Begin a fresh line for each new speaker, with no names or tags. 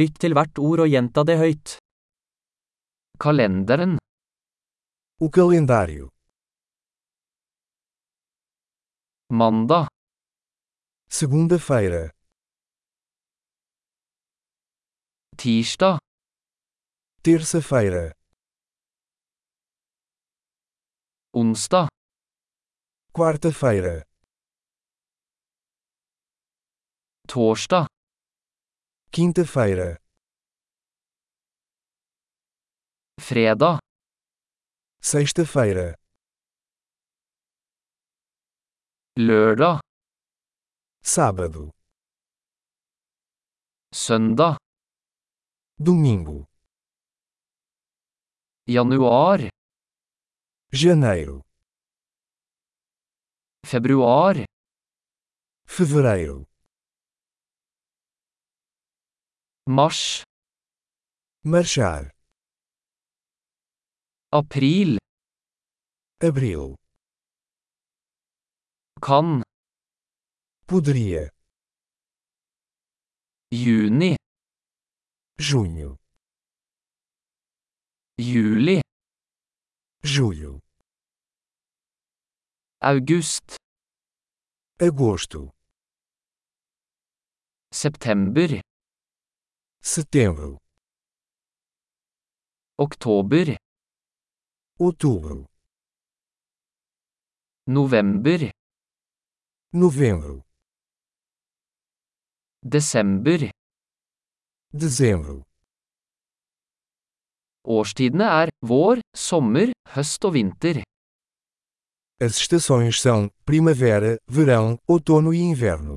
Lytt til hvert ord og gjenta det høyt. Kalenderen,
O calendário.
mandag,
Segunda-feira.
tirsdag,
Terça-feira.
onsdag,
Quarta-feira.
torsdag,
Quinta-feira.
fredag,
Sexta-feira.
lørdag,
Sábado.
søndag,
Domingo.
januar,
Janeiro.
februar,
Fevereiro.
mars,
Marchar.
april,
Abril.
kan,
Poderia.
juni,
Junho.
juli,
Julho.
august,
Agosto.
september,
Setembro.
oktober,
Outubro.
november,
Novembro.
desember.
Dezembro.
Årstidene er vår, sommer, høst og vinter.
As estações são primavera, verão, outono e inverno.